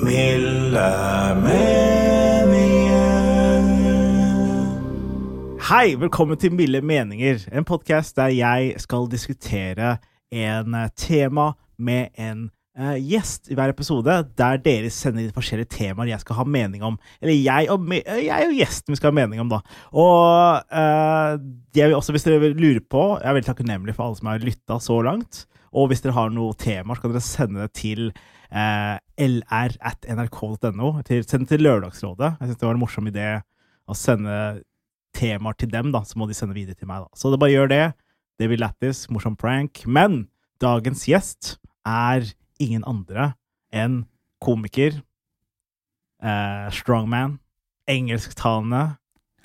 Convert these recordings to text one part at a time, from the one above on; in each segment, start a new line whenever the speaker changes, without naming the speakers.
Milde meninger.
Hei, velkommen til Milde meninger, en podkast der jeg skal diskutere en eh, tema med en eh, gjest i hver episode, der dere sender inn forskjellige temaer jeg skal ha mening om. Eller jeg og, me eh, jeg og gjesten vi skal ha mening om, da. Og eh, jeg vil også, hvis dere lurer på, jeg er veldig takknemlig for alle som har lytta så langt. Og hvis dere har noen temaer, så kan dere sende det til eh, lr at nrk.no. til- Send det til Lørdagsrådet. Jeg syns det var en morsom idé å sende temaer til dem, da, så må de sende videre til meg. da. Så det bare gjør det. Det blir lættis, morsom prank. Men dagens gjest er ingen andre enn komiker, eh, strongman, engelsktalende,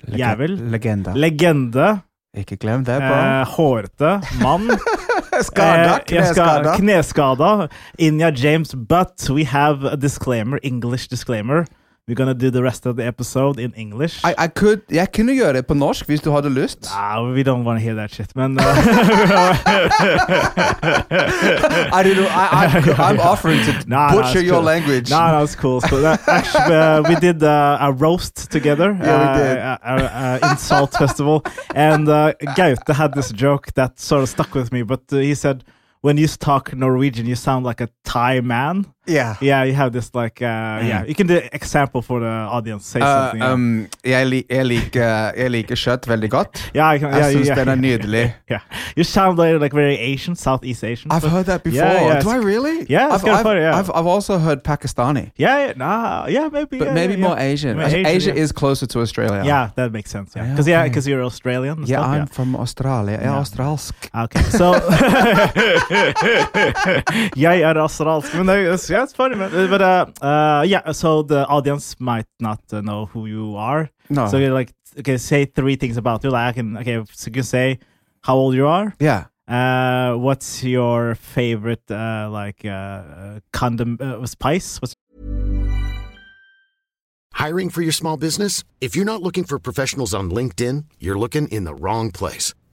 Lege-
Jævel.
Legenda.
legende,
Ikke glem det, bare.
eh, hårete mann.
skada,
Eh, jeg skal-
kneskada.
Kneskada. Inja James, but we have a disclaimer, English disclaimer. We're gonna do the rest of the episode in English.
I, I could, jeg kunne gjøre det på norsk hvis du hadde lyst.
Ah, we don't want to hear that shit, men uh,
I don't know, I, I, I'm offering to
Nah, nah,
butcher
it's
your
cool.
language.
No, no, it's cool. It's cool. Uh, actually, uh, we did uh, a roast together.
Yeah, we did.
Uh, uh, uh, in Salt Festival, and uh, Gaute had this joke that sort of stuck with me. But uh, he said, "When you talk Norwegian, you sound like a Thai man."
Yeah.
Yeah, you have this like, uh, yeah. You can do example for the audience. Say
Mm. Uh,
something.
um, jeg, li, jeg, liker, jeg liker kjøtt veldig godt.
yeah, I can, yeah,
Jeg syns
yeah,
den er
yeah,
nydelig.
yeah. You sound like, like very Asian, Southeast Asian.
I've heard that before.
Yeah, yeah,
Do
it's-
I really?
Yeah, it's
I've,
kinda
I've,
funny, yeah.
I've, I've also heard Pakistani.
yeah, yeah, nah, yeah, maybe.
But
yeah,
maybe
yeah,
more
yeah.
Asian.
More
Asia,
Asian, yeah.
is closer to Australia.
Yeah, that makes sense. Yeah,
Yeah,
because yeah,
okay.
because you're Australian. and
Yeah,
stuff,
I'm from Australia. Jeg er
Yeah.
australsk.
Okay, so Jeg er australsk, men det er- it's- yeah, it's funny, man. Uh, But uh, uh, yeah, so the audience might not uh, know who you are.
No.
So you're like, okay, say three things about you. Like, I can, okay, so you can say how old you are.
yeah.
Uh, what's your favorite uh, like uh, condom uh, spice? What's
Hiring for your small business? If you're not looking for professionals on LinkedIn, you're looking in the wrong place.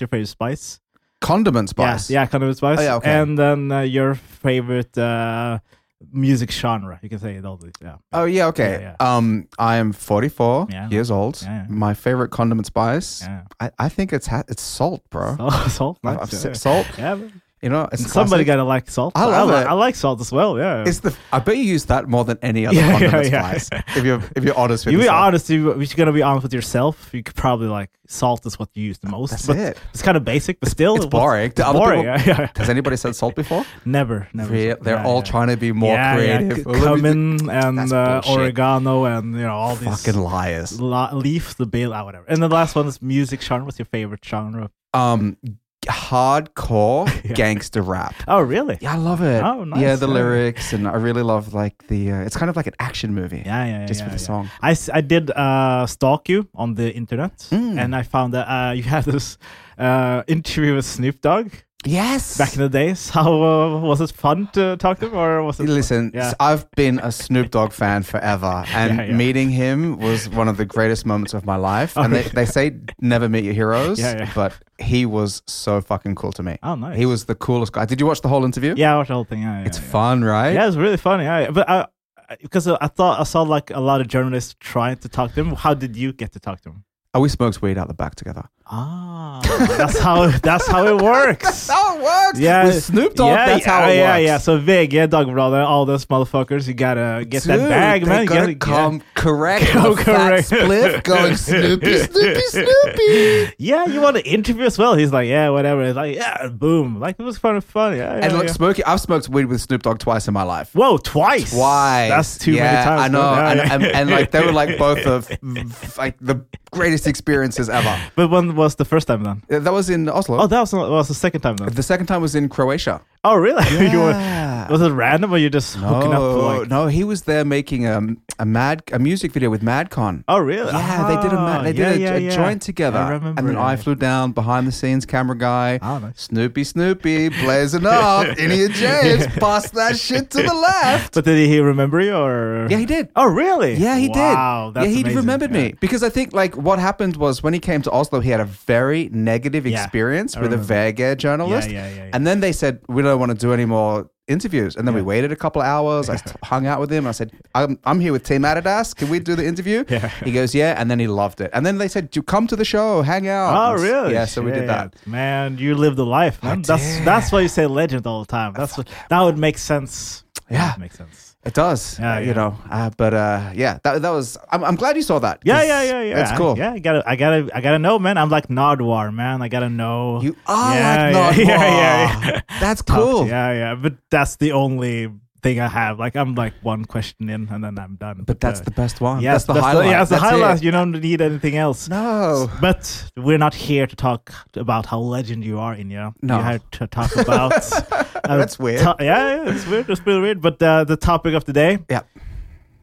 your favorite spice?
Condiment spice.
Yeah, yeah, condom spice.
Oh, yeah, okay.
And then uh, your favorite uh, music genre. You can say it all. these, Yeah.
Oh yeah, okay.
Yeah,
Um, I am 44
Yeah.
years old.
Yeah, yeah.
My favorite condiment spice,
Yeah.
I, I think it's ha- it's salt, bro.
Oh, salt.
I've-
Nice.
I've
yeah.
said salt.
Yeah. but-
You know, it's
Somebody
classic.
gotta like salt.
I love
li-
it.
I like salt as well. Yeah.
It's the I bet you use that more than any other
Yeah,
condiment
yeah, yeah.
spice. If you're if you're honest with
you be
yourself.
honest. You, if you're gonna be honest with yourself, you could probably like salt is what you use the most.
That's
but
it.
It's kind of basic, but still,
It's
what's-
boring.
It's
To other
boring.
people-
yeah, yeah.
Has anybody said salt before?
Never, never.
Re- They're all trying to be more
yeah, yeah,
creative.
c-
Well, let me
Cumin and
That's
uh,
bullshit.
oregano and you know all
think-
these
Fucking liars.
la- leaf, the bail out, whatever. And the last one is music genre. What's your favorite genre?
Um, hardcore gangster rap.
Oh, really?
Yeah, I love it.
Oh, nice,
Yeah, the
yeah.
lyrics and I really love like the. Uh, it's kind of like an action movie.
Yeah, yeah,
Just for
yeah,
the
yeah.
song.
I, s- I did uh, stalk you on the internet,
Mm.
and I found that uh, you had this uh, interview with Snoop Dogg
Yes.
back in the days. How uh, was it fun to talk to him, or was it?
Listen,
yeah.
s- I've been a Snoop Dogg fan forever, and
Yeah, yeah.
meeting him was one of the greatest moments of my life. and they, they say never meet your heroes,
Yeah, yeah.
but he was so fucking cool to me.
Oh, nice.
He was the coolest guy. Did you watch the whole interview?
yeah, I watched the whole thing. Yeah, yeah,
It's
yeah.
fun, right?
Yeah, it's really funny. Yeah, but I because I thought I saw like a lot of journalists trying to talk to him. How did you get to talk to him?
Oh, we smoked weed out the back together.
Ah, that's how that's how it works.
how it works.
Yeah,
With Snoop Dogg,
yeah,
that's
yeah,
how it
yeah,
works.
Yeah, So VG, Dagbladet, all those motherfuckers, you gotta get that
Dude,
bag, man.
They
You
gotta
gotta
come correct.
Come
Come correct.
correct.
Split going Snoopy, Snoopy, Snoopy.
Yeah, you want to interview as well. He's like, yeah, whatever. It's like, yeah, boom. Like it was kind of fun. Yeah, yeah,
And look,
yeah.
smoking. I've smoked weed with Snoop Dogg twice in my life.
Whoa, twice.
Why?
That's too
yeah,
many times.
I know,
bro. Yeah,
and,
yeah.
and, and like they were like both of like the greatest experiences ever.
but when was the first time then?
That was in Oslo.
Oh, that was, that was the second time then.
the second time was in Croatia.
Oh, really? You were-
Yeah.
was it random or you just hooking up?
Oh,
For like,
no, he was there making a, a mad a music video with MadCon.
Oh, really?
Yeah, they did a ma-
Ah,
they did
yeah,
a,
yeah,
a
yeah.
joint together.
I remember
and then
it.
I flew down behind the scenes camera guy.
Oh, nice.
Snoopy Snoopy blazing up. India James bust that shit to the left.
But did he remember you or?
Yeah, he did.
Oh, really?
Yeah, he did.
Wow, that's
yeah, he
amazing.
remembered
Yeah.
me because I think like what happened was when he came to Oslo, he had a very negative
Yeah,
experience
I
with a
remember.
Vega journalist,
Yeah, yeah, yeah, yeah.
and then they said we don't want to do any more interviews, and then we waited a couple of hours. I st- hung out with him. I said, "I'm, I'm here with Team Adidas. Can we do the interview?"
Yeah.
He goes, "Yeah," and then he loved it. And then they said, "You come to the show, hang out."
Oh,
And s-
really?
Yeah, so we did
Shit.
that.
Man, you lived a life, man. That's that's why you say legend all the time. That's what, that would make sense.
Yeah.
that makes sense.
It
Yeah,
does, uh,
yeah.
you know. Uh, but uh, yeah, that, that was. I'm, I'm glad you saw that.
Yeah,
'cause
yeah, yeah, yeah.
That's cool.
Yeah, I gotta, I gotta, I gotta know, man. I'm like Nardwar, man. I gotta know.
You are
Yeah, yeah,
like Nardwar.
yeah, yeah, yeah.
That's
Talk to-
cool.
Yeah, yeah. But that's the only thing I have. Like, I'm like one question in, and then I'm done. uh,
But that's the best one.
Yes,
that's the highlight.
yeah, that's the
That's it.
highlight. You don't need anything else.
No.
But we're not here to talk about how legend you are, Inya.
No.
We're here to talk about. uh,
That's weird.
to- yeah, yeah, it's weird. It's really weird. But uh, the topic of today,
Yeah.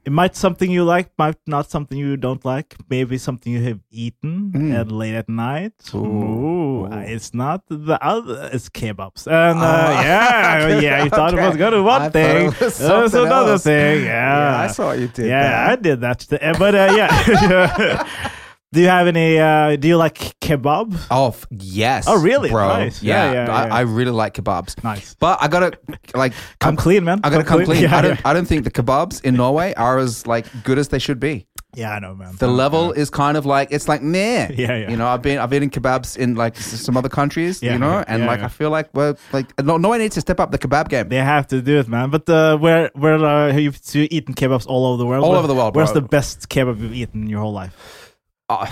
it might something you like, might not something you don't like. Maybe something you have eaten
Hmm.
at late at night. Ooh. uh, It's not the other. It's kebabs. And uh, yeah, yeah, you thought it was going to one
Ah. I thought
thing.
it was
That was
something
another
else.
thing. Yeah.
Yeah, I saw you did
Yeah,
that.
I did that. today. Uh, But uh, yeah. Do you have any? Uh, do you like kebab?
Oh f- yes.
Oh, really?
bro?
Nice. Yeah,
Yeah,
yeah,
I,
yeah.
I really like kebabs.
Nice.
But I gotta like
Come
I'm-
clean, man.
I gotta come clean.
Yeah,
I don't.
yeah.
I don't think the kebabs in Norway are as like good as they should be.
Yeah, I know, man.
The level is kind of like it's like meh.
Mm, Yeah, yeah.
You know, I've been I've eaten kebabs in like s- some other countries.
Yeah,
you know,
yeah,
and
yeah,
like
yeah.
I feel like we're like no, Norway needs to step up the kebab game.
They have to do it, man. But uh, where where uh, have you you've eaten kebabs all over the world?
All
Where-
over the world,
Where's
bro.
the best kebab you've eaten in your whole life?
Oh,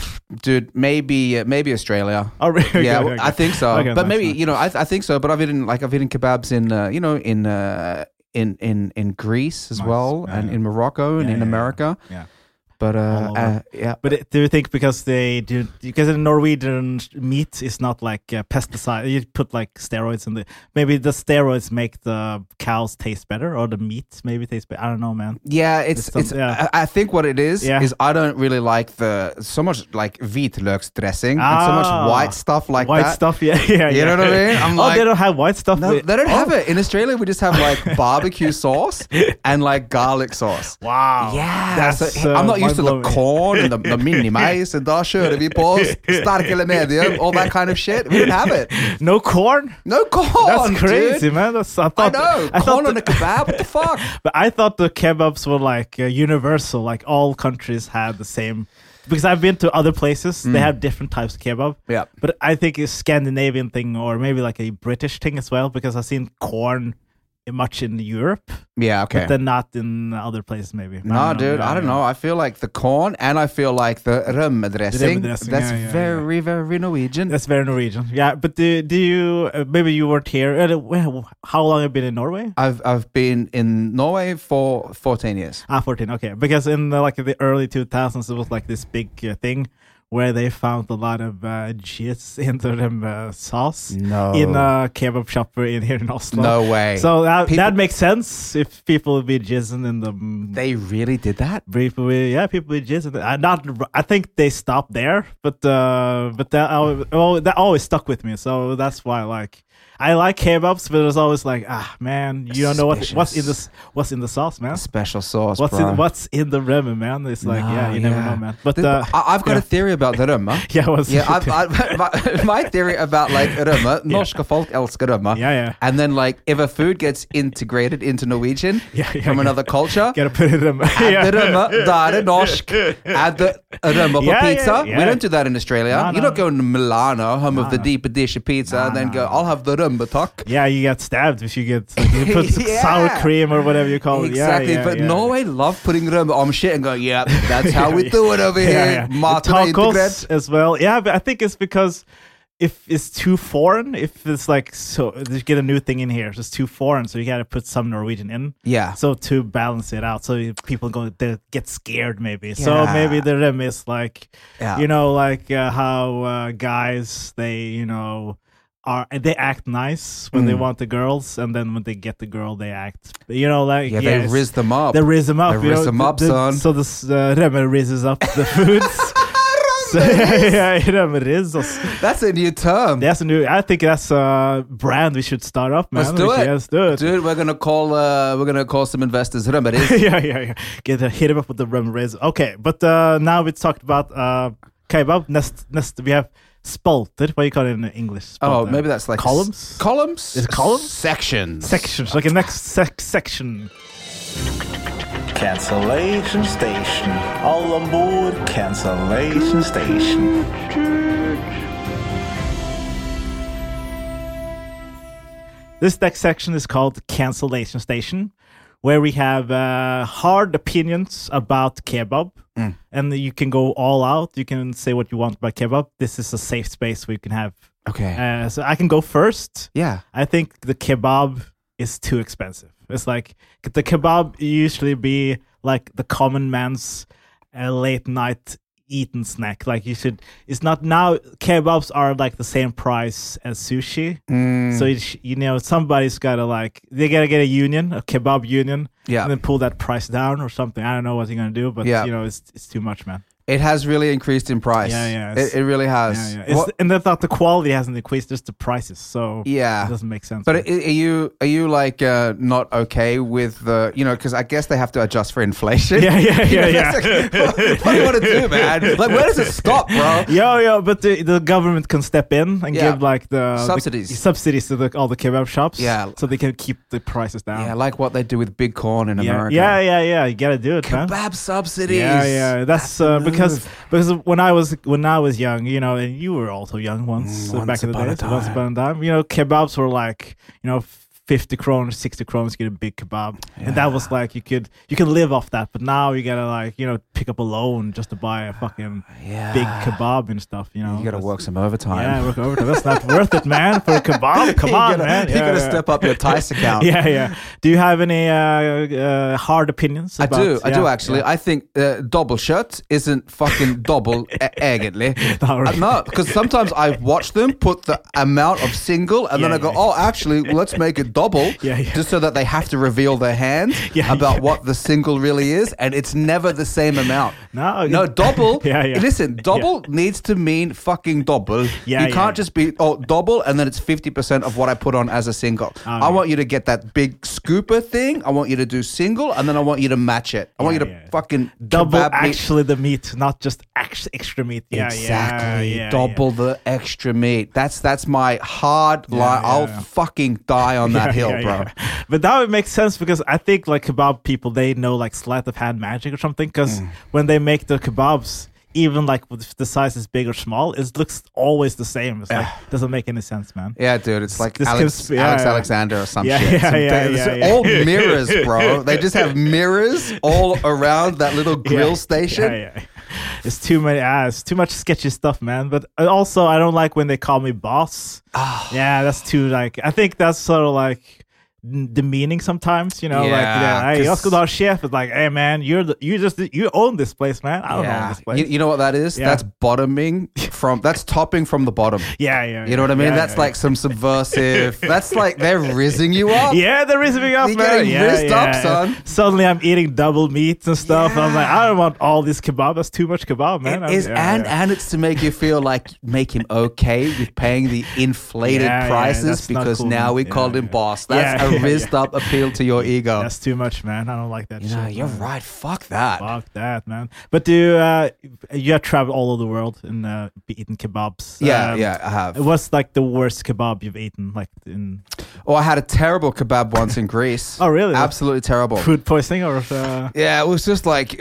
dude, maybe uh, maybe Australia.
Oh, really? Okay,
Yeah,
okay,
well,
okay.
I think so.
Okay, nice,
but maybe
nice.
you know, I, I think so. But I've eaten like I've eaten kebabs in uh, you know in uh, in in in Greece as
Nice.
well,
Yeah,
and
yeah.
in Morocco and
Yeah,
in
yeah, yeah.
America.
Yeah.
But uh,
All over.
uh, yeah,
But it- do you think because they do because in Norwegian meat is not like uh, pesticide? You put like steroids in the maybe the steroids make the cows taste better or the meat maybe taste better. I don't know, man.
yeah, it's
It's some-
it's.
yeah.
I, I think what it is
Yeah.
is I don't really like the so much like Vitlurks dressing and so
Ah.
much white stuff like
white
that.
stuff. Yeah, yeah.
You
yeah.
know what I mean? I'm
oh, they
like-
don't have white stuff. Oh,
No, they don't have it in Australia. We just have like barbecue sauce and like garlic sauce.
Wow.
Yeah,
That's,
so,
uh,
er I'm not used to the
mind-blowing.
corn and the, the mini maize and that shit. If you pause, starkele medium, all that kind of shit. We didn't have it.
No corn.
No corn.
That's
dude.
crazy, man. That's I
I
thought.
know.
I thought
corn on
the-
a kebab. What the fuck?
But I thought the kebabs were like uh, universal, like all countries had the same. Because I've been to other places, they have different types of kebab.
Mm. Yeah.
But I think it's Scandinavian thing or maybe like a British thing as well, because I've seen corn much in Europe,
Yeah.
but then not in other places maybe.
No, dude, I don't know. I feel like the corn and I feel like the rum dressing.
dressing,
That's
yeah, yeah,
very, very Norwegian.
That's very Norwegian. Yeah, but do, do you, uh, maybe you weren't here. Uh, well, How long have you been in Norway?
I've I've been in Norway for 14 years.
Ah, 14. Okay, because in the, like the early 2000s, it was like this big uh, thing where they found a lot of uh, jizz into them uh, sauce
No.
in a kebab shop in here in Oslo.
No way.
So that,
People-
that makes sense if people would be jizzing in the.
They really did that.
People, be- yeah, people be jizzing. I not, I think they stopped there, but uh, but that always, oh, that always stuck with me. So that's why, like, I like kebabs, but it's always like, ah, man, you don't know what what's in this, what's in the sauce, man.
Special sauce.
What's
bro.
in what's in the ramen, man? It's like yeah,
Oh,
you never know, man. But
Th-
uh,
I- I've got
yeah.
a theory about the rømme.
Yeah, I was-
yeah. I've, I've, my, my theory about like rømme. Norske folk elsker rømme.
Yeah, yeah.
And then like if a food gets integrated into Norwegian
Yeah, yeah,
from
yeah.
another culture,
Gotta put it in
add the rømme. Da er det norsk. Add the rømme på
Yeah, yeah,
pizza.
yeah.
We don't do that in Australia.
No,
You
no.
don't go to Milano, home of the deeper dish of pizza, and then go, I'll have the rømme talk.
Yeah, you get stabbed if you get like, you put
Yeah.
sour cream or whatever you call it. Yeah,
Exactly,
yeah,
but
yeah.
Norway love putting rum on shit and going, yeah, that's how we do it over
Yeah, yeah.
here.
The
Martin
tacos
Integrat.
as well. Yeah, but I think it's because if it's too foreign, if it's like so, you get a new thing in here. It's just too foreign, so you got to put some Norwegian in.
Yeah.
So to balance it out, so people go they get scared maybe. So
Yeah.
maybe the rem is like,
Yeah.
you know, like uh, how uh, guys they you know. Are, they act nice when they
Mm.
want the girls, and then when they get the girl, they act, you know, like
Yeah, they
yes.
rizz them up.
They rizz them up.
They
you
rizz
know,
them
the-
up,
the-
son.
So the uh, Remme rizzes up the foods. so, yeah, Remme rizz us.
That's a new term.
That's a new. I think that's a brand we should start up, man.
Let's do
We should-
it.
Let's do it.
Dude, we're gonna call uh, we're gonna call some investors remedies.
yeah, yeah, yeah. Get uh, hit him up with the Remme rizz. Okay, but uh, now we talked about uh, kebab. Next, next we have spalter. What do you call it in English?
Oh,
Spalter.
maybe that's like
columns.
columns.
Is it columns?
Sections.
sections. Like a next sec- section.
Cancellation station. All on board cancellation station.
This next section is called Cancellation Station, where we have uh, hard opinions about kebab. And you can go all out. You can say what you want about kebab. This is a safe space where you can have.
Okay.
Uh, so I can go first.
yeah.
I think the kebab is too expensive. It's like the kebab usually be like the common man's uh, late night eaten snack. Like you should, it's not now. Kebabs are like the same price as sushi.
Mm.
So it, sh- you know somebody's gotta like they gotta get a union, a kebab union,
Yeah.
and then pull that price down or something. I don't know what you're gonna do, but
Yeah.
you know it's it's too much, man.
It has really increased in price.
Yeah, yeah, it's-
It, it really has.
Yeah, yeah. It's,
What-
and I thought the quality hasn't increased, just the prices. So
Yeah.
it doesn't make sense.
But
man.
are are you are you like uh, not okay with the you know because I guess they have to adjust for inflation.
Yeah, yeah,
You know,
yeah, yeah.
that's like, what, what do you want to do, man? Like, where does it stop, bro?
Yo, yo, but the, the government can step in and
Yeah.
give like the
Subsidies.
the subsidies to the, all the kebab shops.
Yeah.
so they can keep the prices down.
Yeah, like what they do with big corn in
yeah,
America.
yeah, yeah, yeah, You gotta do it, man.
Kebab subsidies. Ah,
Yeah, yeah. That's
the
uh, because
move.
because when I was when I was young, you know, and you were also young once, uh,
Mm, once
back in the
upon a
days. Once
time.
upon a time, you know, kebabs were like you know. 50 kroners, 60 kroners, get a big kebab. And that was like, you could you could live off that. But now you gotta, like, you know, pick up a loan just to buy a fucking big kebab and stuff, you know?
you got to
That's-
work some overtime.
yeah, work overtime. That's not worth it, man. For a kebab, come
you
on,
gotta,
man.
You
yeah,
gotta
yeah.
step up your Tice account.
Yeah, yeah. Do you have any uh, uh, hard opinions?
I
about,
do, I do
yeah,
actually.
yeah.
I think uh, double shirt isn't fucking double e- elegantly.
Not really.
Uh, no, because sometimes I watch them put the amount of single, and
Yeah,
then I go,
yeah.
"Oh, actually, let's make it double,"
Yeah, yeah.
just so that they have to reveal their hand
Yeah,
about
yeah.
what the single really is, and it's never the same amount.
No,
no,
it-
double.
Yeah, yeah.
Listen,
Yeah.
double needs to mean fucking double.
Yeah,
you
yeah.
can't just be oh double, and then it's fifty percent of what I put on as a single. I
yeah.
want you to get that big scooper thing. I want you to do single, and then I want you to match it. I want you to
yeah.
fucking
double
kebab me-
actually the meat, not just ex- extra meat. Yeah,
exactly.
Yeah, yeah,
double the extra meat. That's that's my hard line.
yeah,
I'll
yeah.
fucking die on that hill,
yeah,
bro.
yeah. But now it makes sense because I think like kebab people they know like sleight of hand magic or something because
Mm.
when they make the kebabs. Even like if the size is big or small, it looks always the same. It's like doesn't make any sense, man.
Yeah, dude, it's like
This
Alex,
gives- yeah,
Alex
yeah.
Alexander or some
Yeah,
shit.
yeah,
Some
yeah,
thing-
yeah,
it's
yeah.
All mirrors, bro. They just have mirrors all around that little grill station.
Yeah, yeah. It's too many ass, too much sketchy stuff, man. But I- also, I don't like when they call me boss.
Ah.
yeah, that's too like. I think that's sort of like n- demeaning sometimes. You know,
Yeah,
like yeah, hey,
'cause-
Oscar Dahl chef is like, hey man, you're the, you just you own this place, man. I don't own Oh, this place.
You, you know what that is?
Yeah.
That's bottoming from that's topping from the bottom.
yeah, yeah.
You know what I
yeah,
mean?
yeah,
that's
yeah.
like some subversive. that's like they're rizzing you up.
Yeah, they're rizzing up,
You're
man.
getting
Yeah,
rizzed
yeah.
up, son.
Suddenly, I'm eating double meat and stuff. I'm like, I don't want all this kebab. That's too much kebab, man.
It
I'm-
is,
yeah,
and
yeah.
and it's to make you feel like make him okay with paying the inflated
Yeah, yeah,
prices
that's not
because
cool,
now
man.
we
Yeah,
called him
yeah.
boss. That's
Yeah,
a rizzed up appeal to your ego.
That's too much, man. I don't like that
you
shit.
know, you're
man.
right. Fuck that.
Fuck that, man. But do you, uh, you have traveled all over the world and uh, eaten kebabs?
Yeah,
Um,
yeah, I have.
What's like the worst kebab you've eaten? Like in
Oh, I had a terrible kebab once in Greece.
Oh, really?
Absolutely terrible.
food poisoning or uh,
Yeah, it was just like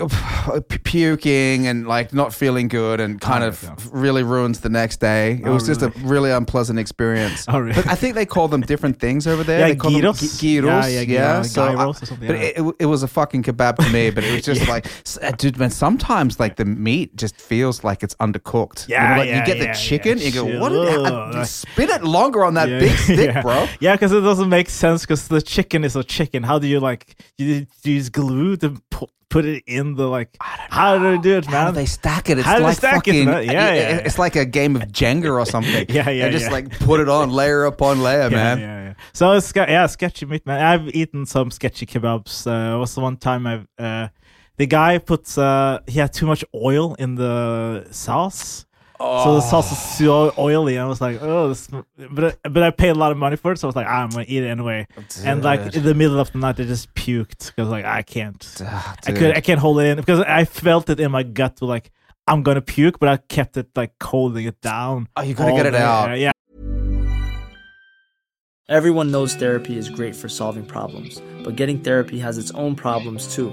p- puking and like not feeling good and kind
Oh,
of
yeah.
really ruins the next day. It was just a really unpleasant experience.
Oh, really?
But I think they call them different things over there.
Yeah,
they call them
gyros.
gi- gyros.
Yeah,
Yeah,
yeah,
yeah,
gyros,
So I-
gyros or something,
But
yeah.
it, it, it was a fucking kebab to me. But it was just like, s- uh, dude, man, sometimes like the meat just feels like it's undercooked. You know,
Yeah,
like,
yeah,
you get
yeah,
the chicken,
yeah,
you go,
shit.
what? Did
Ugh,
I,
like-
spit it longer on that
yeah,
big stick,
yeah.
bro.
Yeah, because it doesn't make sense. Because the chicken is a chicken. How do you like? You, do you use glue to pu- put it in the like? How do they do it, man?
How do they stack it? It's
How do they
like
stack it,
fucking,
man? Yeah, yeah, yeah.
It's like a game of Jenga or something.
Yeah, yeah,
They just
yeah.
like put it on layer upon layer,
Yeah,
man.
Yeah, yeah. So it's ske- yeah, sketchy meat, man. I've eaten some sketchy kebabs. Uh, was the one time I've uh, the guy puts uh, he had too much oil in the sauce. So the sauce was so oily, and I was like, "Oh!" This, but I- but I paid a lot of money for it, so I was like, "Ah, "I'm gonna eat it anyway." And like in the middle of the night, I just puked because like I can't, I
Ah, dude.
could, I can't hold it in because I felt it in my gut. Like I'm gonna puke, but I kept it like holding it down.
Oh, you gotta
all
get it
day.
out.
Yeah,
Everyone knows therapy is great for solving problems, but getting therapy has its own problems too,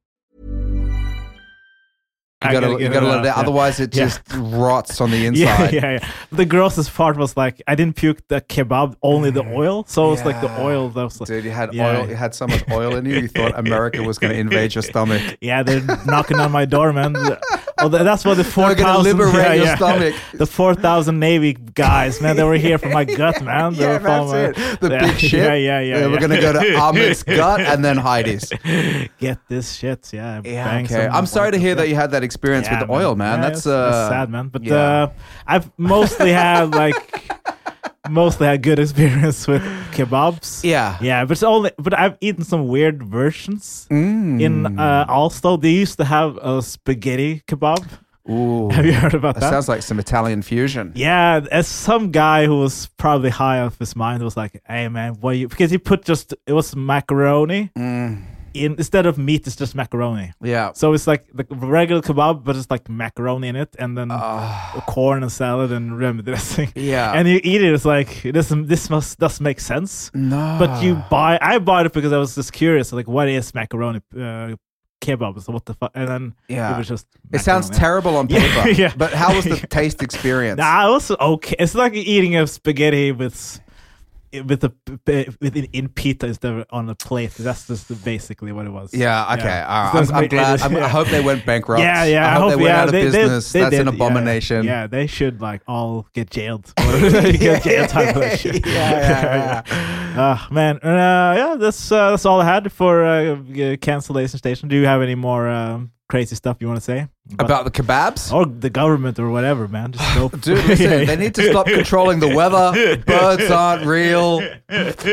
You
I
gotta,
gotta
you
get
gotta
it
let it
out,
out.
yeah.
Otherwise, it
Yeah.
just rots on the
Yeah,
inside.
yeah, yeah. The grossest part was like I didn't puke the kebab, only the oil. So it was like the
Mm-hmm. Yeah.
oil that was like,
Dude, you had
yeah.
oil. You had so much oil in you. You thought America was going to invade your stomach.
Yeah, they're knocking on my door, man. Oh, tha- that's what the four
gonna
thousand.
liberate
Yeah,
your
yeah.
stomach.
The four thousand Navy guys, man, they were here for my gut, man. They
Yeah,
were for
that's
my-
it. The
yeah,
big shit.
Yeah, yeah, yeah.
They We're
yeah.
going to go to Ahmed's gut and then Heidi's.
get this shit. Yeah,
Yeah,
bang
okay.
some
I'm sorry to
white-
hear that you had that experience with the
Yeah,
oil, man.
Yeah,
that's,
it's-
uh,
sad, man. But
yeah.
uh, I've mostly had like mostly had good experience with kebabs.
Yeah.
yeah, but it's only but I've eaten some weird versions
Mm.
in uh, Alsto. They used to have a spaghetti kebab.
Ooh,
Have you heard about
that
that?
sounds like some Italian fusion.
yeah, as some guy who was probably high off his mind was like, "Hey man, what you?" Because he put just it was macaroni
Mm.
in instead of meat. It's just macaroni.
Yeah.
So it's like the regular kebab, but it's like macaroni in it, and then corn and salad and rim dressing.
Ah. Yeah.
and you eat it. It's like this. This must does make sense.
No.
But you buy. I bought it because I was just curious. Like, what is macaroni uh, kebab? So what the fuck? And then
Yeah.
it was just.
It sounds
macaroni.
terrible on
Yeah,
paper.
yeah.
But how was the
Yeah.
taste experience?
Nah, it was okay. It's like eating a spaghetti with. With the with in, in pita instead of on a plate. That's just basically what it was.
Yeah, okay.
It
All right.
doesn't
I'm, I'm
make- it
glad.
is-
I'm, I
yeah.
hope they went bankrupt.
Yeah, yeah.
I hope, they went
yeah,
out of business. That's
did,
an
yeah.
abomination.
Yeah, they should like all get jailed. get jail time for that shit.
yeah, yeah,
Ah, man. Uh, yeah, that's uh, that's all I had for uh, uh, cancellation station. Do you have any more um, crazy stuff you want to say
About the kebabs?
or the government or whatever, man? Just go.
Dude, listen, they need to stop controlling the weather. Birds aren't real.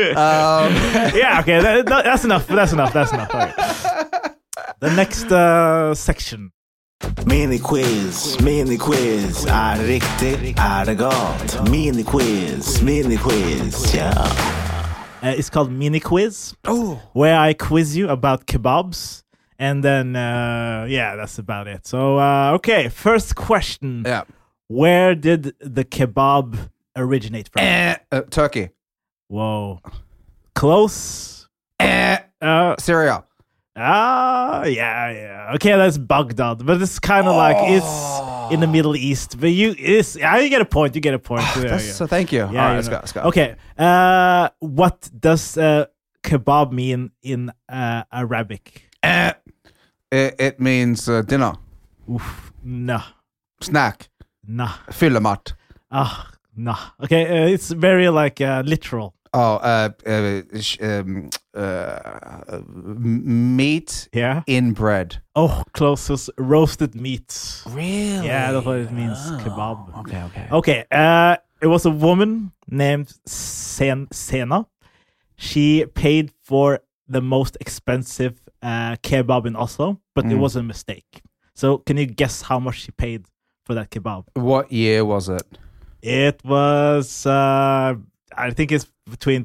Um,
yeah, okay. That, that- that's enough. That's enough. That's enough. All right. The next uh, section.
Miniquiz, miniquiz. Er det riktig, er det galt? Miniquiz, miniquiz, ja.
Uh, it's called Mini Quiz. Oh. Where I quiz you about kebabs. And then, uh, yeah, that's about it. So, uh, okay, first question.
yeah.
Where did the kebab originate from?
Eh, uh, Turkey.
Whoa. Close.
Eh,
Uh,
Syria.
Ah, yeah, yeah. Okay, that's Baghdad, but it's kind of like
Oh.
it's in the Middle East. But you, it's yeah, you get a point. You get a point. yeah,
Ah, That's-
yeah.
So thank you.
Yeah,
All right,
you
let's
know.
go. Let's go.
Okay, uh, what does uh, kebab mean in uh, Arabic?
Eh, it, it means uh, dinner,
Nah,
snack,
nah,
fyllemat.
ah, nah. Okay, uh, it's very like uh, literal.
Oh, uh, uh, sh- um, uh, m- meat
Yeah.
in bread.
Oh, closest roasted meats.
Really? Oh.
Yeah, that's what it means. kebab.
Okay, okay.
Okay. Uh, it was a woman named Sen- Sena. She paid for the most expensive uh, kebab in Oslo, but
Mm.
it was a mistake. So, can you guess how much she paid for that kebab?
What year was it?
It was, uh, I think it's between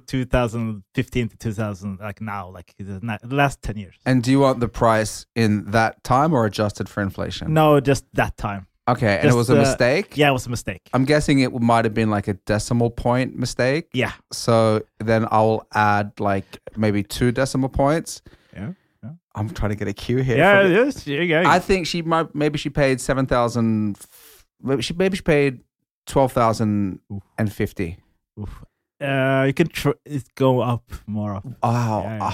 2015 to 2000, like now, like the na- the last 10 years.
And do you want the price in that time or adjusted for inflation?
No, just that time.
Okay, and it
Just,
was a
uh,
mistake?
Yeah, it was a mistake.
I'm guessing it might have been like a decimal point mistake.
yeah.
So then I'll add like maybe two decimal points.
Yeah.
I'm trying to get a cue here.
Yeah,
for the-
yes, yeah, yeah.
I think she might. Maybe she paid seven thousand. Maybe she maybe she paid twelve thousand and fifty.
Oof. Uh, you can tr- it go up more up.
Wow,
Yeah,
a
yeah.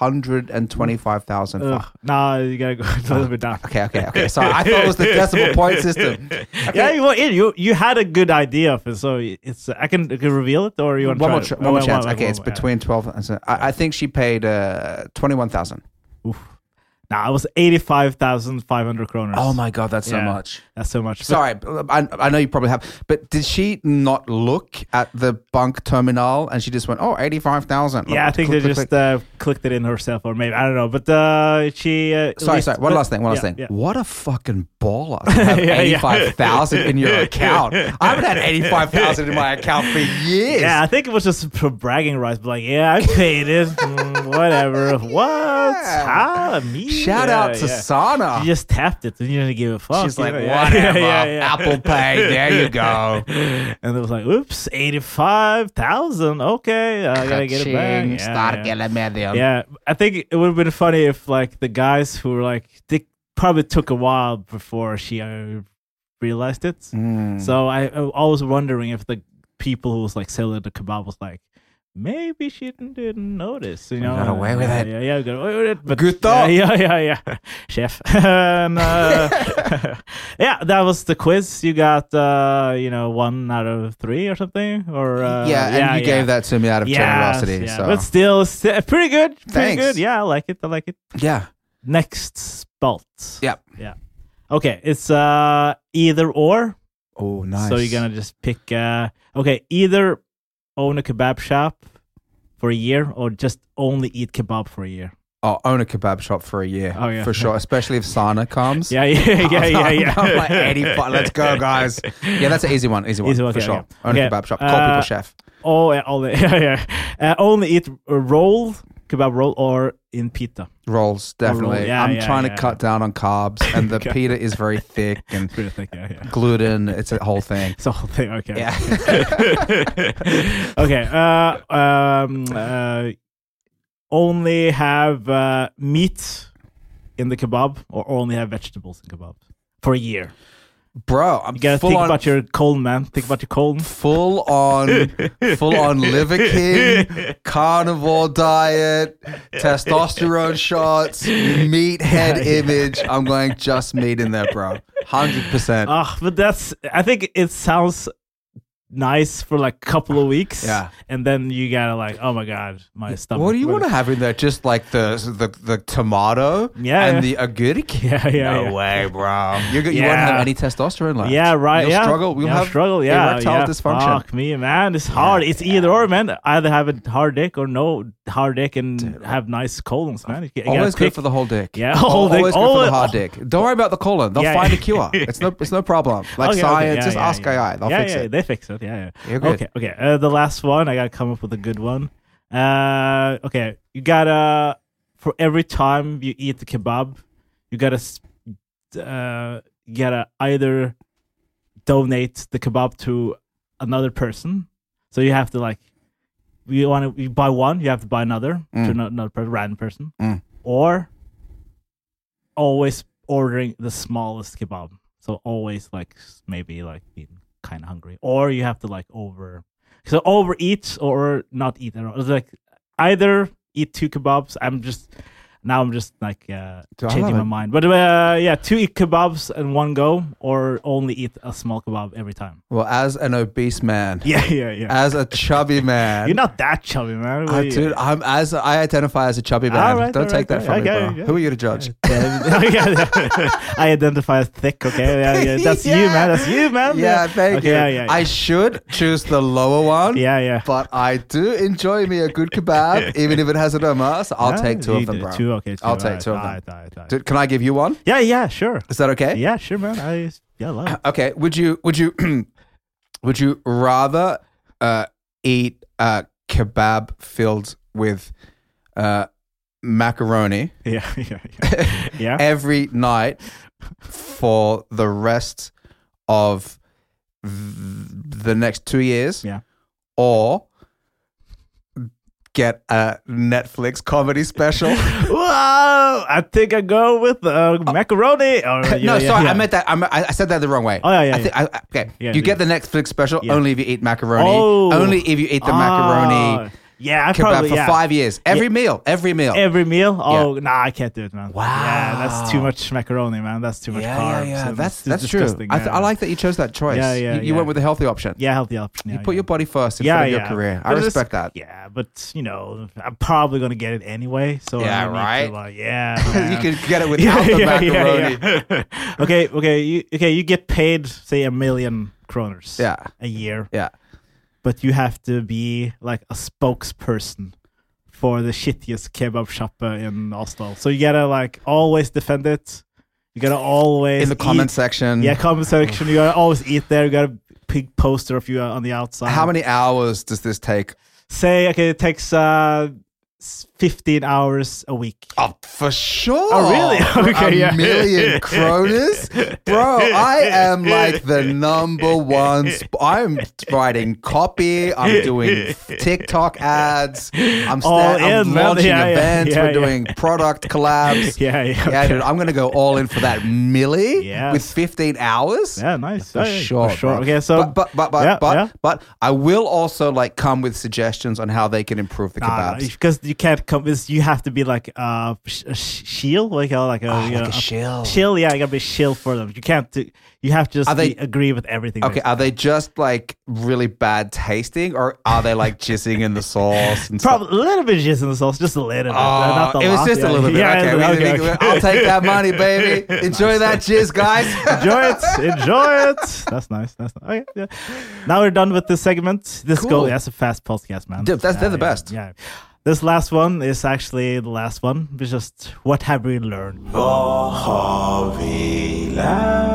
hundred and twenty-five thousand.
Ugh, no, Uh, you gotta go a little bit down.
Okay, okay, okay. Sorry, I thought it was the decimal point system.
Yeah, you, were in. you you had a good idea of it, so it's I can, I can reveal it or you want
One
try
more,
it?
tr-
Oh,
one more chance.
one-
okay,
one
it's
more, yeah.
between twelve. And so I, I think she paid uh, twenty-one thousand.
Nah, it was eighty five thousand five hundred kroners.
Oh my god, that's so
Yeah,
much.
That's so much. But
Sorry, I, I know you probably have, but did she not look at the bunk terminal and she just went, oh, 85,000?
yeah, I think they
Click, click,
just
click.
uh, clicked it in herself, or maybe I don't know. But uh, she. Uh, at
Sorry,
least-
sorry. One
but-
last thing. One
yeah,
last thing.
yeah.
What a fucking baller! To have
yeah.
eighty-five thousand in your account. I haven't had eighty-five thousand in my account for years.
Yeah, I think it was just for bragging rights, but like, yeah, I paid it. Mm, whatever. What? How? Me?
Shout
Yeah,
out to
yeah.
Sana.
She just tapped it. and You didn't give a fuck.
She's
you
like,
know? Yeah,
whatever.
yeah, yeah.
Apple Pay. There you go.
And it was like, oops, 85,000. Okay, I gotta get it back.
Ka-ching,
Yeah,
Start
yeah.
getting medium.
Yeah, I think it would have been funny if, like, the guys who were like, they probably took a while before she uh, realized it.
Mm.
So I, I was always wondering if the people who was like selling the kebab was like, maybe she didn't, didn't notice, you know?
got away with
yeah,
it.
Yeah, yeah, we got away with it. But
Good
yeah,
thought.
yeah, yeah, yeah, chef. and, uh, yeah, that was the quiz. You got, uh, you know, one out of three or something, or uh,
yeah, and you gave that to me out of
Yes,
generosity.
yeah.
So
But still, it's, uh, pretty good. Pretty
Thanks.
good. Yeah, I like it. I like it.
yeah,
Next spot.
yeah.
Yeah. Okay, it's uh either or.
Oh, nice.
So you're gonna just pick uh okay, either own a kebab shop for a year or just only eat kebab for a year.
I'll own a kebab shop for a year.
Oh, yeah.
For sure. Especially if Sana comes.
Yeah, yeah, yeah, yeah,
I'm-
yeah.
I'm like 85. Let's go, guys. Yeah, that's an easy one. Easy one.
Easy one,
for
okay,
sure.
okay.
Own a
Okay,
kebab shop. Call
uh,
people chef.
Oh, yeah, only yeah, yeah. Uh, only eat a roll, kebab roll or in pita.
Rolls, definitely.
yeah,
I'm
yeah,
trying
yeah.
to cut down on carbs, and the pita is very thick and
Pretty thick, yeah, yeah.
gluten. It's a whole thing.
It's a whole thing, okay.
Yeah.
okay. Uh um uh only have uh meat in the kebab or only have vegetables in kebab for a year.
Bro, I'm
You gotta
full
think
on.
about your colon, man. Think about your colon.
Full on, full on liver king, carnivore diet, testosterone shots, meat head image. I'm going just meat in there, bro. Hundred percent.
Ah, but that's. I think it sounds nice for like a couple of weeks.
Yeah.
and then you gotta like, oh my god, my stomach.
What do you want to have in there? Just like the the, the tomato
Yeah,
and
yeah.
the agurk?
Yeah, yeah,
No
yeah.
way, bro. You're, go- You won't
Yeah.
have any testosterone left.
Yeah, right.
You'll
yeah,
struggle. We'll
yeah,
have
struggle. Yeah,
erectile
yeah.
dysfunction.
Fuck me, man. It's hard. it's either or, man. Either have a hard dick or no hard dick and have nice colons, man. You, you gotta
Always good
pick.
for the whole dick.
Yeah, whole
Always
dick.
good for
Always-
the hard dick. Don't worry about the colon. They'll
Yeah.
find a cure. It's no, it's no problem. Like
Okay, okay,
science,
Oh, yeah,
just
yeah,
ask
yeah.
AI. They'll
yeah,
fix
yeah,
it.
They fix it. Yeah, yeah.
You're good.
Okay, okay. Uh, the last one, I gotta come up with a good one. Uh, okay, you gotta for every time you eat the kebab, you gotta s- uh, you gotta either donate the kebab to another person, so you have to like. You want to you buy one, you have to buy another to ano- another person, random person, or always ordering the smallest kebab. So always like s- maybe like being kind of hungry, or you have to like over so overeat or not eat at all. It's like either eat two kebabs. I'm just now I'm just like uh,
Do I
changing
have
my
a-
mind. But uh, yeah, two eat kebabs in one go, or only eat a small kebab every time.
Well, as an obese man,
Yeah, yeah, yeah.
as a chubby man,
You're not that chubby, man. What
I,
are you-
dude, I'm as I identify as a chubby man.
Alright,
Don't
alright,
take that from
alright.
me,
Okay,
bro.
yeah.
Who are you to judge?
Oh, I identify as thick. Okay, yeah, yeah. that's you,
Yeah.
man. That's you, man.
Yeah, thank
Okay,
you.
Yeah, yeah, yeah.
I should choose the lower one.
Yeah, yeah.
But I do enjoy me a good kebab, even if it has an omas. I'll
Ah,
take two of
you
them,
do-
bro.
Two, okay. Two,
I'll take
alright,
two of them.
alright, alright, alright.
Dude, can I give you one?
Yeah, yeah, sure.
Is that okay?
Yeah, sure, man. I yeah, love. it.
Okay. Would you would you would you rather uh, eat a kebab filled with uh, macaroni
Yeah, yeah, yeah. yeah.
every night for the rest of th- the next two years?
Yeah.
Or get a Netflix comedy special?
Whoa! I think I go with uh, macaroni. Or, yeah,
Uh, no,
yeah,
sorry,
yeah.
I meant that. I, meant- I I said that the wrong way.
Oh, yeah, yeah,
I think, I, I- okay,
Yeah,
you
yeah.
get the Netflix special
Yeah.
only if you eat macaroni.
Oh.
Only if you eat the macaroni
Ah, Yeah, I
kebab
probably
for
yeah.
five years. Every meal, every meal.
Every meal? Oh, nah, I can't do it, man.
Wow.
Yeah, that's too much macaroni, man. That's too
yeah,
much
yeah,
carbs.
yeah.
and
That's
it's
that's true.
disgusting,
I, th-
yeah.
I like that you chose that choice.
Yeah, yeah,
You, you
yeah.
went with the healthy option.
Yeah, healthy option.
You
yeah,
put
yeah.
your body first in
yeah,
front of your
yeah.
career. I
But it's-
respect that.
Yeah, but you know, I'm probably gonna get it anyway. So
Yeah,
I need to,
right?
like, yeah,
you
man.
could get it without the macaroni.
yeah. okay, okay, you okay, you get paid say a million kroners
Yeah.
a year,
yeah.
but you have to be like a spokesperson for the shittiest kebab shop uh, in Oslo. So you gotta like always defend it. You gotta always
In the comment
eat-
section.
Yeah, comment section. You gotta always eat there. You gotta big poster of you uh, on the outside.
How many hours does this take?
Say okay, it takes uh, s- fifteen hours a week.
Oh, for sure.
Oh, really?
For
Okay,
a
yeah.
million kronas? Bro, I am like the number one. Sp- I'm writing copy. I'm doing TikTok ads. I'm, sta-
All
I'm
in, man.
launching
Yeah, yeah,
events.
yeah,
We're
yeah.
doing product collabs.
Yeah, yeah,
Yeah,
okay.
dude, I'm going to go all in for that milli
Yes.
with 15 hours.
Yeah, nice.
For
Yeah, yeah,
sure,
for sure.
bro.
Okay, so
but but but but,
yeah,
but,
yeah.
but I will also like come with suggestions on how they can improve the
Ah,
kebabs.
because Uh, you can't come. It's, you have to be like uh, sh- a sh- shield, like a like a,
Ah,
you
like
know,
a shield.
Shield, yeah, you gotta be a shield for them. You can't. Do, you have to just
Are they-
be- agree with everything.
Okay,
basically.
are they just like really bad tasting, or are they like jizzing in the sauce and stuff?
probably a little bit jizz in the sauce, just a little bit.
Oh,
not a
it was
lot,
just
yeah.
a little bit.
Yeah,
okay, we- we- we- I'll take that money, baby. Enjoy that jizz, guys.
enjoy it. Enjoy it. That's nice. That's nice. Okay, yeah. Now we're done with this segment. This
Cool.
go. That's a fast podcast, man.
Dude, that's- they're
Yeah,
the
yeah, Yeah.
best.
This last one is actually the last one. It's just what have we learned?
Hva har vi lært?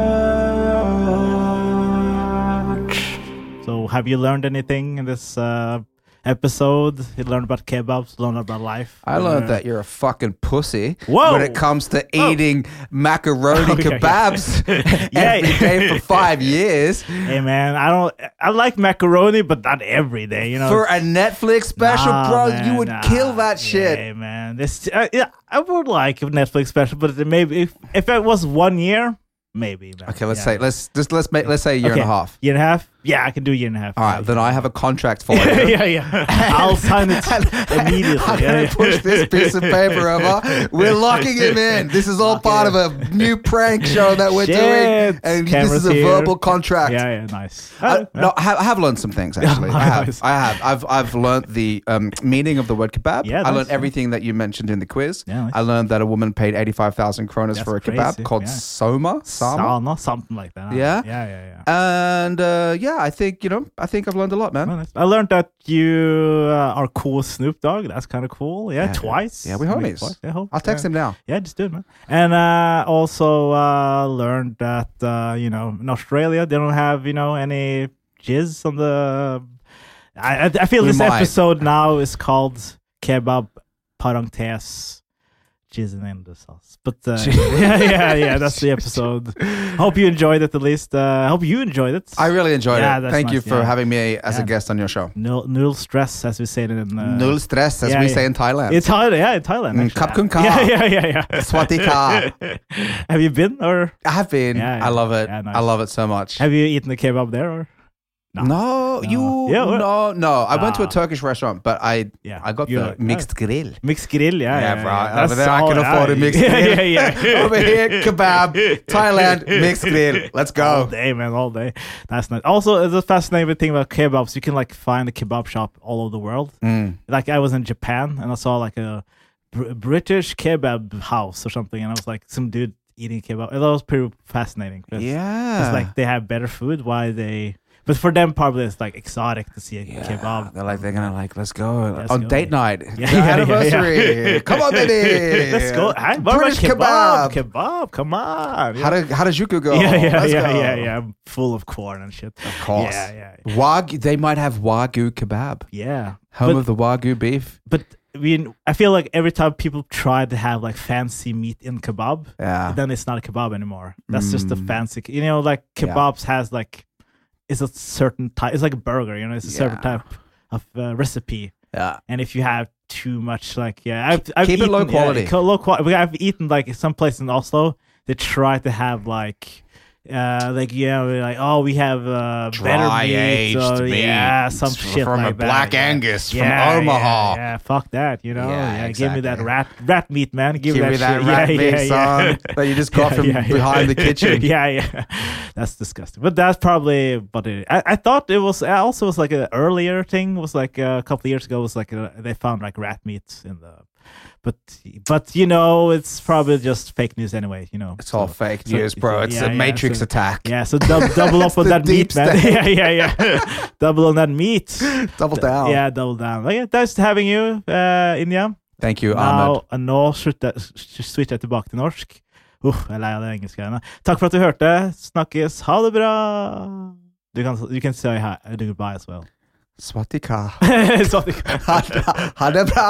So, have you learned anything in this uh, episode? You learned about kebabs, learned about life.
I learned that you're a fucking pussy
Whoa.
when it comes to eating macaroni
Okay, yeah.
kebabs every
Yeah.
day for five years
Hey, man, I don't. I like macaroni, but not every day. You know,
for a Netflix special,
Oh, Nah,
bro. you
Ah, man,
would
nah.
kill that shit.
Hey, man, this. Uh, yeah, I would like a Netflix special, but it maybe if, if it was one year, maybe. man.
Okay, let's
Yeah.
say let's just let's make let's say a year
Okay,
and a half.
Year and a half. Yeah, I can do a year and a half.
All right, then I have a contract for you.
yeah, yeah. I'll sign it immediately.
I'm
Yeah,
gonna
yeah.
push this piece of paper over. We're locking him in. This is all part of a new prank show that we're
Shit.
doing, and this
Cameras
is a
here.
verbal contract.
Yeah, yeah, nice.
I,
Oh, yeah.
no, I have, I have learned some things actually. I have,
Nice.
I have, I've, I've learned the um, meaning of the word kebab.
Yeah,
I learned
nice, yeah.
everything that you mentioned in the quiz.
Yeah, nice.
I learned that a woman paid eighty-five thousand kronas
That's
for a
crazy,
kebab called
yeah.
soma, sama,
Sauna, something like that.
Yeah?
yeah, yeah, yeah.
and uh, yeah, I think you know, I think I've learned a lot, man.
Well, nice. I learned that you uh, are cool with Snoop Dogg. That's kind of cool. Yeah, twice.
Yeah, we're
I mean,
homies.
twice. Yeah, homies.
I'll text
yeah.
him now.
Yeah, just do it, man. And uh, also uh, learned that uh, you know in Australia they don't have you know any jizz on the. I I, I feel
We
this
might.
episode now is called kebab parangtes jizz and end this sauce. But uh, yeah, yeah, yeah, that's the episode. Hope you enjoyed it at least. Uh, hope you enjoyed it.
I really enjoyed
Yeah,
it.
that's
Thank you
nice,
for
yeah.
having me as
Yeah.
a guest on your show.
no, null stress, as we say it in uh,
Null stress, as
yeah,
we
yeah.
say in Thailand.
In Thailand, yeah, in Thailand.
Mm,
actually,
kap
yeah.
kun ka.
Yeah, yeah, yeah, yeah.
Swati ka.
Have you been or
I have been.
Yeah, yeah.
I love it.
Yeah, nice.
I love it so much.
have you eaten the kebab there or?
No, you
Yeah, what-
no no. I went to a
Ah.
Turkish restaurant, but I
Yeah,
I got
you
the
like-
mixed grill.
Mixed grill, yeah.
Yeah,
yeah,
bro.
yeah.
Over there, I
all-
can afford a mixed
yeah,
grill.
Yeah, yeah.
Over here, kebab, Thailand, mixed grill. Let's
All
go.
day, man, all day. That's nice. Also, the fascinating thing about kebabs, you can like find a kebab shop all over the world.
Mm.
Like I was in Japan and I saw like a Br- British kebab house or something, and I was like, some dude eating kebab. And that was pretty fascinating. 'cause
Yeah,
it's like they have better food. Why they? But for them, probably it's like exotic to see a kebab.
They're like they're gonna like let's go
Let's
on
go.
date night.
Yeah,
the
yeah, yeah,
anniversary. Come on, baby.
Let's go. Hey, what about
British
kebab.
kebab.
kebab. Come on.
How did how does Yuku go?
yeah, yeah,
Let's
yeah,
go.
yeah, yeah. I'm full of corn and shit. Of
course.
Yeah, yeah,
Wagyu. They might have wagyu kebab.
yeah.
Home
but,
of the wagyu beef.
but I mean, I feel like every time people try to have like fancy meat in kebab,
Yeah. Mm.
then it's not a kebab anymore. That's just a fancy. You know, like kebabs has like it's a certain type. It's like a burger. You know, it's a certain
Yeah.
type of uh, recipe.
Yeah.
and if you have too much, like yeah, I've, I've
keep it
eaten,
low
yeah,
quality.
co- low quality. I've eaten like some place in Oslo. They try to have like, uh, like yeah, we're like oh, we have uh,
Dry
better meat,
aged
or,
meat
yeah, some
from
shit
a
like that,
Black
yeah.
Angus from
Yeah, yeah,
Omaha.
Yeah, fuck that, you know. Yeah,
Yeah,
give me that
exactly.
rat rat meat, man. Give,
Give
me
me that
shit.
rat
yeah,
meat,
yeah, yeah.
son, that you just got from behind the kitchen.
yeah, yeah, that's disgusting. But that's probably. But it, I, I thought it was I also was like an earlier thing. Was like uh, a couple of years ago. Was like uh they found like rat meat in the. But but you know it's probably just fake news anyway. You know
It's all fake
so-
news, bro. It's
yeah,
a
yeah,
matrix
so-
attack.
Yeah, so dub, double up on
the
that meat,
deep
man.
state.
yeah, yeah, yeah. double on that meat.
Double down.
Yeah, double down. Okay, nice having you, uh, Inja.
Thank you, Ahmed.
Now, nå slutter switcher jeg tilbake til norsk. Uff, jeg er lei av det engelske greiene. Takk for at du hørte. Snakkes. Ha det bra! Du kan you can say hi, do goodbye as well.
Swatika.
Sånn at du-
ha det bra.